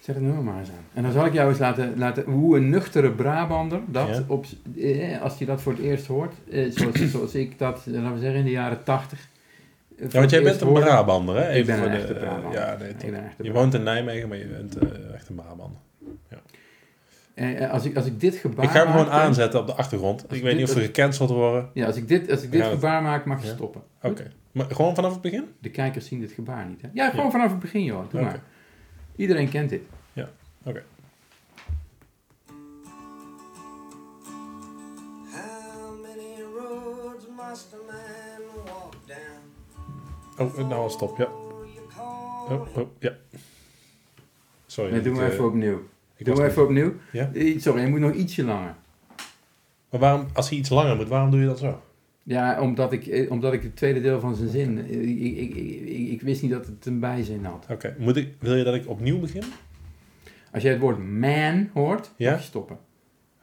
Zet het nummer maar eens aan. En dan zal ik jou eens laten, laten hoe een nuchtere Brabander dat, Ja. op, z- eh, als je dat voor het eerst hoort, eh, zoals, zoals ik dat, eh, laten we zeggen, in de jaren tachtig. eh, Ja, want jij bent een Brabander, hè? ben voor een de, echte eh, Brabander. ja, nee, Ik toch. ben echt een je woont in Nijmegen, maar je bent eh, echt een Brabander. Eh, eh, als, ik, als ik dit gebaar ik ga hem gewoon maakte- aanzetten op de achtergrond. Als Ik weet dit- niet of ze gecanceld worden. Ja, als ik dit, als ik dit Ja, dat- gebaar maak, mag je Ja. stoppen. Oké. Maar gewoon vanaf het begin? De kijkers zien dit gebaar niet, hè? Ja, gewoon vanaf het begin, joh. Doe Oké. Oh, maar. Iedereen kent dit. How many roads must a man walk down? Oh, nou al stop, ja. before you call Oh, him oh, ja. Sorry. Nee, dat, doe maar eh, even opnieuw. ik doe was maar even opnieuw. Ja? Eh, Sorry, je moet nog ietsje langer. Maar waarom, als hij iets langer moet, waarom doe je dat zo? Ja, omdat ik, eh, omdat ik het tweede deel van zijn zin... eh, Ik, ik, ik, ik, ik wist niet dat het een bijzin had. Oké. Moet ik, wil je dat ik opnieuw begin? Als jij het woord man hoort, Ja? mag je stoppen.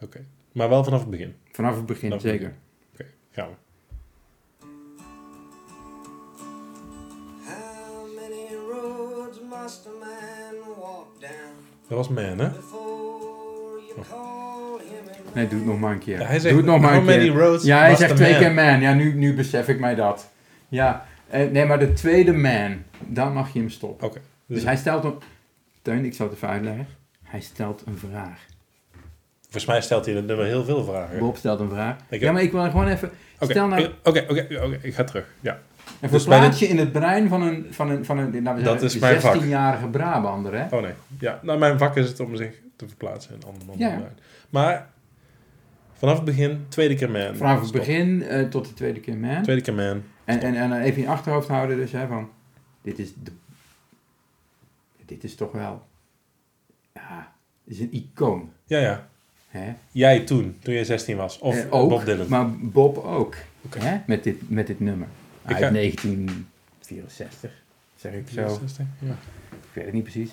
Oké. Maar wel vanaf het begin. Vanaf het begin, Vanaf het zeker. Oké, gaan we. How many roads must a man walk down? Dat was man, hè? Before Oh. you call him a man? Nee, doe het nog maar een keer. Ja, hij zegt, doe het nog maar how een many keer. roads ja, hij must zegt a twee man? keer man. Ja, nu, nu besef ik mij dat. Ja, eh, nee, maar de tweede man, dan mag je hem stoppen. Oké. Dus, Dus hij stelt een... Teun, ik zal het even uitleggen. Hij stelt een vraag. volgens mij stelt hij in het nummer heel veel vragen. Bob stelt een vraag. Ik- Ja, maar ik wil gewoon even... Oké, Stel nou... ik- oké, oké, oké, ik ga terug. Ja. En dus bij verplaats je in het brein van een, van een, van een, laten we Dat zeggen, is mijn vak. een 16-jarige Brabander, hè? Oh nee. Ja, nou, mijn vak is het om zich te verplaatsen in andere mannen. Ja. Maar vanaf het begin, tweede keer man. Vanaf het Stop. begin eh, tot de tweede keer man. Tweede keer man. En, en, en even in je achterhoofd houden dus, hè, van... Dit is... De, dit is toch wel... Ja, dit is een icoon, Ja, ja. hè? Jij toen, toen jij 16 was. Of Eh, ook, Bob Dylan. maar Bob ook, Oké. hè? Met dit, met dit nummer. Uit ga- 1964, zeg ik zo. 64, ja. Ik weet het niet precies.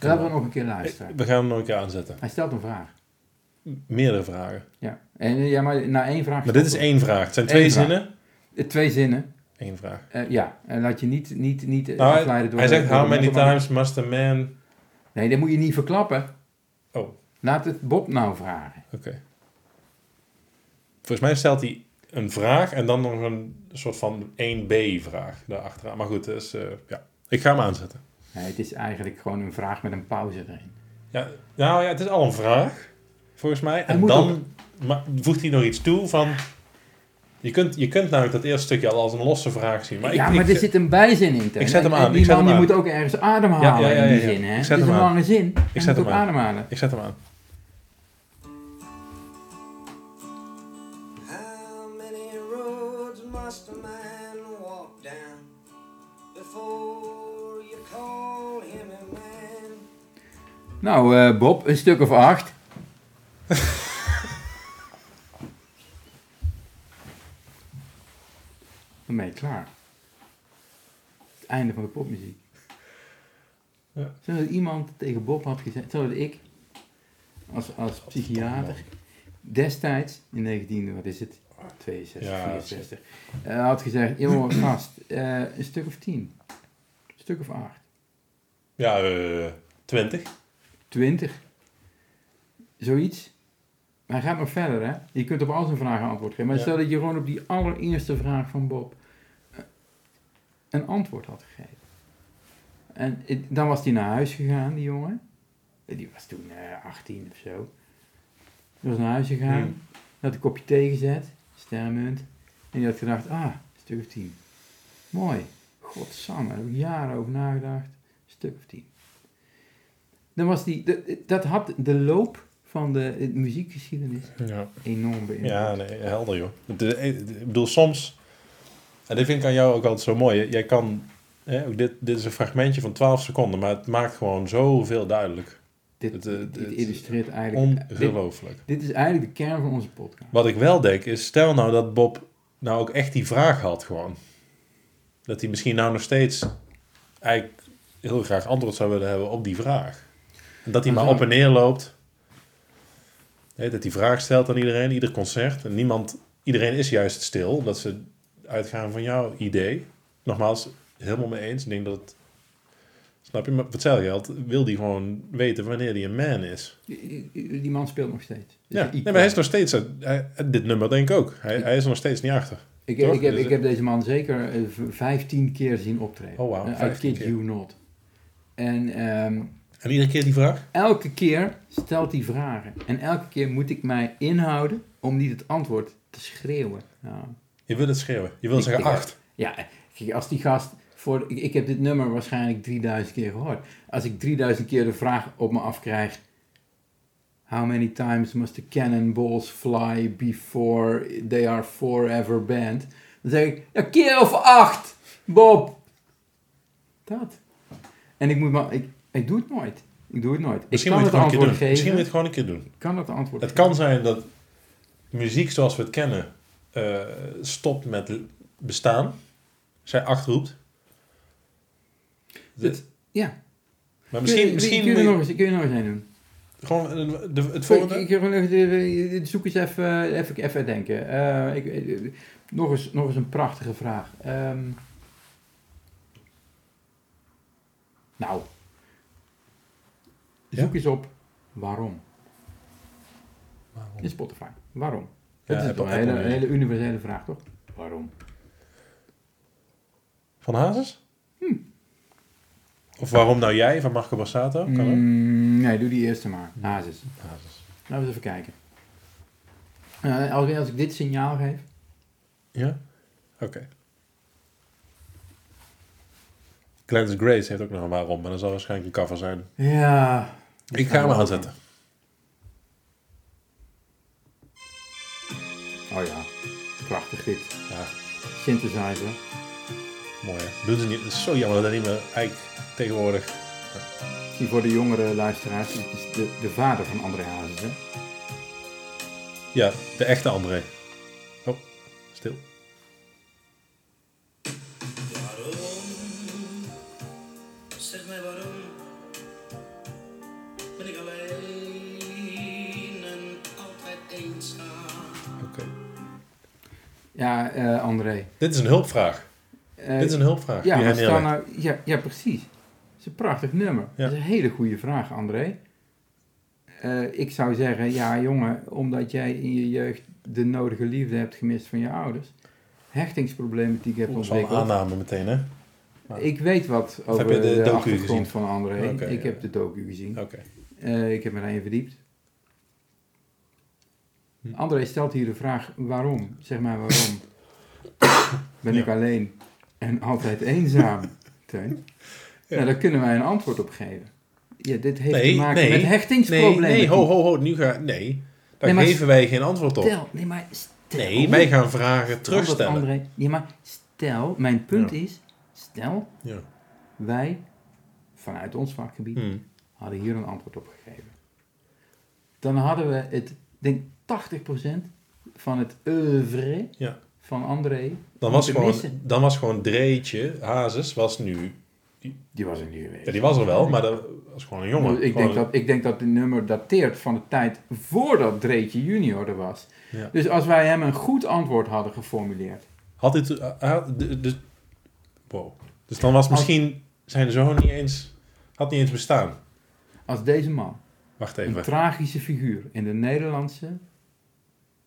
Laten we nog een keer luisteren. We gaan hem nog een keer aanzetten. Hij stelt een vraag. Meerdere vragen. Ja, en, eh, ja maar na één vraag... Maar dit is stoppen. één vraag. Het zijn twee Eén vraag. zinnen. Eh, Twee zinnen. Eén vraag. Eh, ja, en laat je niet, niet, niet eh, Nou, hij afleiden door... hij zegt, door de how many metal- times must a man... Nee, dat moet je niet verklappen. Oh, oké. Laat het Bob nou vragen. Volgens mij stelt hij een vraag en dan nog een soort van 1B-vraag daarachteraan. Maar goed, dus, eh, ja. ik ga hem aanzetten. Nee, het is eigenlijk gewoon een vraag met een pauze erin. Ja, nou ja, het is al een vraag, volgens mij. En moet dan ma- voegt hij nog iets toe van... Je kunt, je kunt namelijk dat eerste stukje al als een losse vraag zien. Maar ja, ik, maar ik, er zit een bijzin in. Teun. ik zet hem En- aan, en Die ik zet man hem die aan. moet ook ergens ademhalen Ja, ja, ja, in ja, die ja. zin. Hè? Ik Het zet is hem een aan. lange zin. Hij moet zet hem ook aan. ademhalen. ik zet hem aan. How many roads must a man walk down? Before you call him a man? Nou, eh, Bob, een stuk of acht. Dan ben je klaar. Het einde van de popmuziek. Ja. Zou dat iemand tegen Bob had gezegd, zou dat ik, als, als psychiater, destijds in 19, wat is het, Oh, 62, Ja, 64. En hij had gezegd, jongen, gast, eh, een stuk of 10. Een stuk of 8. Ja, eh 20. 20. Zoiets. Maar hij gaat nog verder, hè. Je kunt op al zijn vragen antwoord geven. Maar Ja. stel dat je gewoon op die allereerste vraag van Bob eh, een antwoord had gegeven. En het- dan was hij naar huis gegaan, die jongen. Eh, Die was toen eh, 18 of zo. Die was naar huis gegaan. Hmm. Had een kopje thee gezet. Sterrenmunt. En die had gedacht, ah, een stuk of 10. Mooi. Godsamme, daar heb ik jaren over nagedacht. Een stuk of 10. Dan was die, dat, dat had de loop van de, eh, muziekgeschiedenis Ja. enorm beïnvloed. Ja, nee, helder joh. Het, eh, Ik bedoel, soms, en dit vind ik aan jou ook altijd zo mooi, jij kan, hè, ook dit, dit is een fragmentje van 12 seconden, maar het maakt gewoon zoveel duidelijk. dit, het, eh, dit het- illustreert eigenlijk... Dit, Ongelooflijk. dit is eigenlijk de kern van onze podcast. Wat ik wel denk is, stel nou dat Bob nou ook echt die vraag had gewoon. Dat hij misschien nou nog steeds eigenlijk heel graag antwoord zou willen hebben op die vraag. En dat hij maar Aha. op en neer loopt. Hè, dat hij vraag stelt aan iedereen, ieder concert. En niemand, iedereen is juist stil, omdat ze uitgaan van jouw idee. Nogmaals, helemaal mee eens. Ik denk dat het, snap je, maar voor hetzelfde geld wil hij gewoon weten wanneer hij een man is. Die, die- die man speelt nog steeds. Dus Ja, ik- nee, maar hij is nog steeds... eh, Hij, dit nummer denk ik ook. Hij, hij is er nog steeds niet achter. ik, toch? ik, heb, Dus- ik heb deze man zeker eh, v- 15 keer zien optreden. Oh, wauw, Eh, I 15 kid keer. you not. En ehm, En iedere keer die vraag? elke keer stelt hij vragen. En elke keer moet ik mij inhouden om niet het antwoord te schreeuwen. Nou, Je wil het schreeuwen. Je wil Ik- zeggen ik- acht. Ja, kijk, als die gast. Voor, ik, ik heb dit nummer waarschijnlijk 3000 keer gehoord. Als ik 3000 keer de vraag op me afkrijg. How many times must the cannonballs fly before they are forever banned? Dan zeg ik, een keer of acht, Bob. Dat. En ik moet maar, ik, ik doe het nooit. Ik doe het nooit. Misschien ik moet kan je het het gewoon een keer antwoord doen. Misschien geven. moet je het gewoon een keer doen. Ik kan het antwoord Het geven. kan zijn dat muziek zoals we het kennen eh, stopt met l- bestaan. Zij acht roept. Het- ja. Maar Kun misschien, je- misschien kun je, er moet je nog eens, kun je er nog eens heen doen. gewoon een- de- het Ik, volgende. ik, heb nog- eh, eh, zoek eens even, even, even denken. Eh, ik, eh, eh, nog, eens, nog eens een prachtige vraag. Ehm, nou, zoek eens op waarom. In Spotify. Waarom? Dat Ja, is Apple- toch een hele, Apple, ja. hele universele vraag, toch? Waarom? Van Hazes? Hmm. Of waarom nou jij van Marco Borsato? Oh, Kan ook. Mm, nee, doe die eerste maar. Hazes. Hazes. Laten we eens even kijken. Eh, als, als ik dit signaal geef, Ja? Oké. Clarence Grace heeft ook nog een waarom, maar dat zal waarschijnlijk een cover zijn. Ja. Ik ga hem aanzetten. Oh ja, prachtig dit. Ja, Synthesizer. mooi hè. Doen ze niet. Het is zo jammer dat dat niet meer eigenlijk tegenwoordig... Misschien voor de jongere luisteraars, dit is de, de vader van André Hazes. Hè? Ja, de echte André. Oh, stil. Waarom? Zeg mij waarom ben ik alleen en altijd eenzaam? Oké. Ja, eh, André. Dit is een hulpvraag. Eh, Dit is een hulpvraag. ja, die hij wat staan neerlegt. nou, ja, ja, precies. Het is een prachtig nummer. Ja. Dat is een hele goede vraag, André. Eh, ik zou zeggen, ja jongen, omdat jij in je jeugd de nodige liefde hebt gemist van je ouders, hechtingsproblematiek hebt Dat is wel een ontwikkeld. aanname meteen, hè? Ik weet wat over heb je de de, docu achtergrond gezien? van André. Oké, ik ja. heb de docu gezien. Oké. Eh, ik heb me daarin verdiept. Hm. André stelt hier de vraag waarom. Zeg maar waarom. ben ik Ja. alleen en altijd eenzaam, Teun? Ja. Nou, daar kunnen wij een antwoord op geven. Ja, dit heeft Nee, te maken nee, met Nee, hechtingsproblemen. nee, ho, ho, ho. Nu ga... Nee. Daar Nee, maar- geven wij geen antwoord op. Stel, nee, maar stel. Nee, wij gaan vragen Omdat terugstellen. André, ja, maar stel, mijn punt Ja. is, stel, Ja. wij vanuit ons vakgebied Hm. hadden hier een antwoord op gegeven. Dan hadden we het, denk 80% van het oeuvre Ja. van André. Dan was, moeten gewoon, missen. dan was gewoon Dreetje, Hazes, was nu... Die was er niet geweest. Ja, die was er wel, maar dat Dat is gewoon een jongen. ik, Gewoon denk een- dat, ik denk dat dit nummer dateert van de tijd voordat Dreetje junior er was. Ja. Dus als wij hem een goed antwoord hadden geformuleerd. Had dit... eh, had- de- dus, wow. Dus dan was misschien zijn zoon niet eens... Had niet eens bestaan. Als deze man, Wacht een even. tragische figuur in de Nederlandse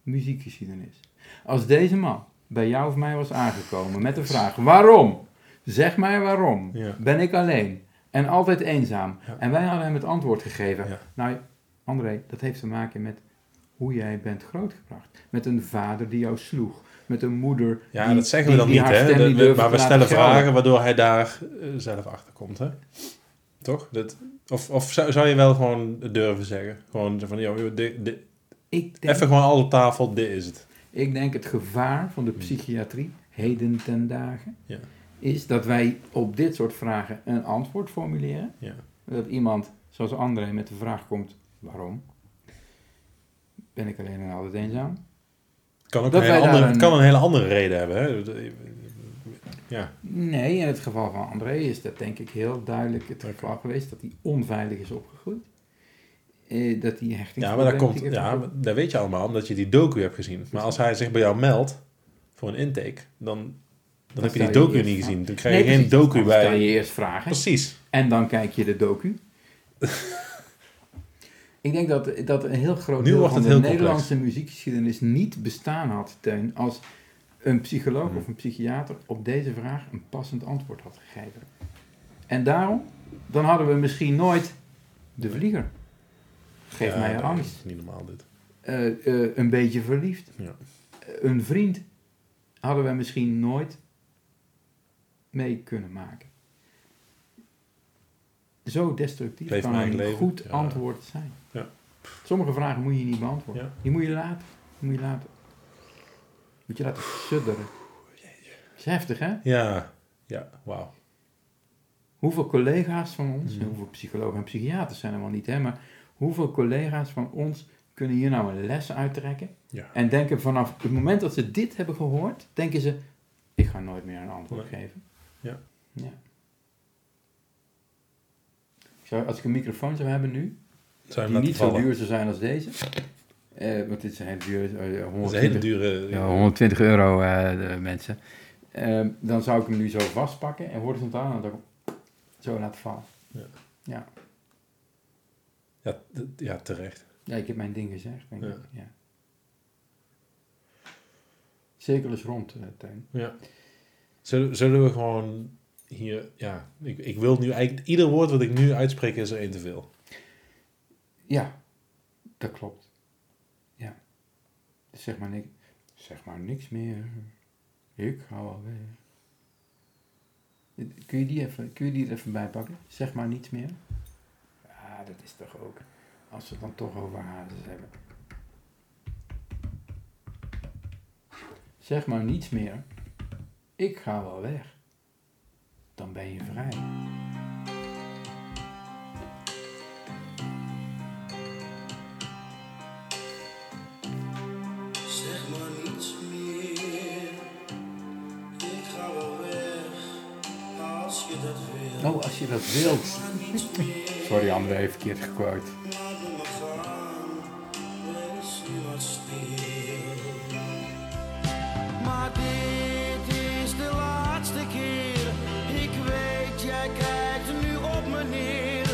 muziekgeschiedenis. Als deze man bij jou of mij was aangekomen met de vraag: waarom? Zeg mij waarom? Ja. Ben ik alleen en altijd eenzaam? Ja. En wij hadden hem het antwoord gegeven. Ja. Nou, André, dat heeft te maken met hoe jij bent grootgebracht. Met een vader die jou sloeg. Met een moeder. Ja, die, dat zeggen we die- dan die niet, haar hè? stem Dat- niet we- durfde maar we te stellen laten gelden. vragen waardoor hij daar eh, zelf achter komt, hè? Toch? Dat, of of zou, zou je wel gewoon durven zeggen? Gewoon zo van, joh, joh, dit- dit- Ik denk, even gewoon alles op tafel, dit is het. ik denk het gevaar van de psychiatrie, heden ten dagen, Hmm. Ja. is dat wij op dit soort vragen een antwoord formuleren. Ja. Dat iemand, zoals André, met de vraag komt: waarom? Ben ik alleen en altijd eenzaam? Het kan ook Dat een hele wij daar andere, een- het kan een hele andere reden hebben, hè? Ja, Nee, in het geval van André is dat denk ik heel duidelijk het Oké. geval geweest dat hij onveilig is opgegroeid. Eh, dat hij hechting. ja maar dat, komt, ja, maar dat weet je allemaal, omdat je die docu hebt gezien. Maar als hij zich bij jou meldt voor een intake, dan, dan heb je stel die je docu eerst niet aan. gezien. Dan krijg je geen docu Dan stel bij. je eerst vragen Precies. en dan kijk je de docu. ik denk dat, dat een heel groot Nu deel wordt van het de heel complex. Nederlandse muziekgeschiedenis niet bestaan had, Teun, als een psycholoog Hmm. of een psychiater op deze vraag een passend antwoord had gegeven. En daarom, dan hadden we misschien nooit de vlieger. Geef Ja, mij nee, angst. dat is Niet normaal dit. eh, eh, een beetje verliefd. Ja. Eh, een vriend hadden we misschien nooit mee kunnen maken. Zo destructief Leef kan mijn een eigen leven. goed Ja. antwoord zijn. Ja. Sommige vragen moet je niet beantwoorden. Ja. Die moet je laten. Die moet je laten. Moet je laten sudderen. Dat is heftig, hè? Ja, ja, wauw. Hoeveel collega's van ons, Mhm. hoeveel psychologen en psychiaters zijn er wel niet, hè? Maar hoeveel collega's van ons kunnen hier nou een les uittrekken? Ja. En denken vanaf het moment dat ze dit hebben gehoord, denken ze: ik ga nooit meer een antwoord Nee. geven. Ja. ja. Ik zou- als ik een microfoon zou hebben nu, Zou je die hem niet laten vallen? zo duur zou zijn als deze, eh, want dit is een hele dure, eh, Dat is een hele 120, dure... ja, 120 euro eh, de mensen, Ehm, dan zou ik hem nu zo vastpakken en horizontaal en dan zo laten vallen. Ja, d- ja, terecht. Ja, ik heb mijn ding gezegd, denk Ja. ik. Ja. Cirkel is rond, eh Teun. Ja. Zullen, zullen we gewoon hier... Ja, ik, ik wil nu eigenlijk... Ieder woord wat ik nu uitspreek is er één te veel. Ja, dat klopt. Ja. Dus Zeg maar, niks, zeg maar niks meer. Ik hou alweer. Kun je, die even, kun je die er even bij pakken? Zeg maar niets meer. Ja, dat is toch ook. Als we het dan toch over hazes hebben. Zeg maar niets meer. Ik ga wel weg. Dan ben je vrij. Zeg maar niets meer. Ik ga wel weg als je dat wil. Nou, als je dat wilt. Maar niets meer. Sorry, André, even verkeerd gequote. Laat me maar gaan. Wees nu maar stil. Maar dit is de laatste keer. Ik weet, jij kijkt nu op me neer.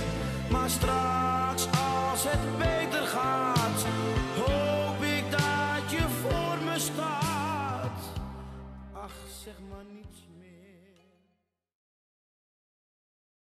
Maar straks, als het beter gaat, hoop ik dat je voor me staat. Ach, zeg maar niets.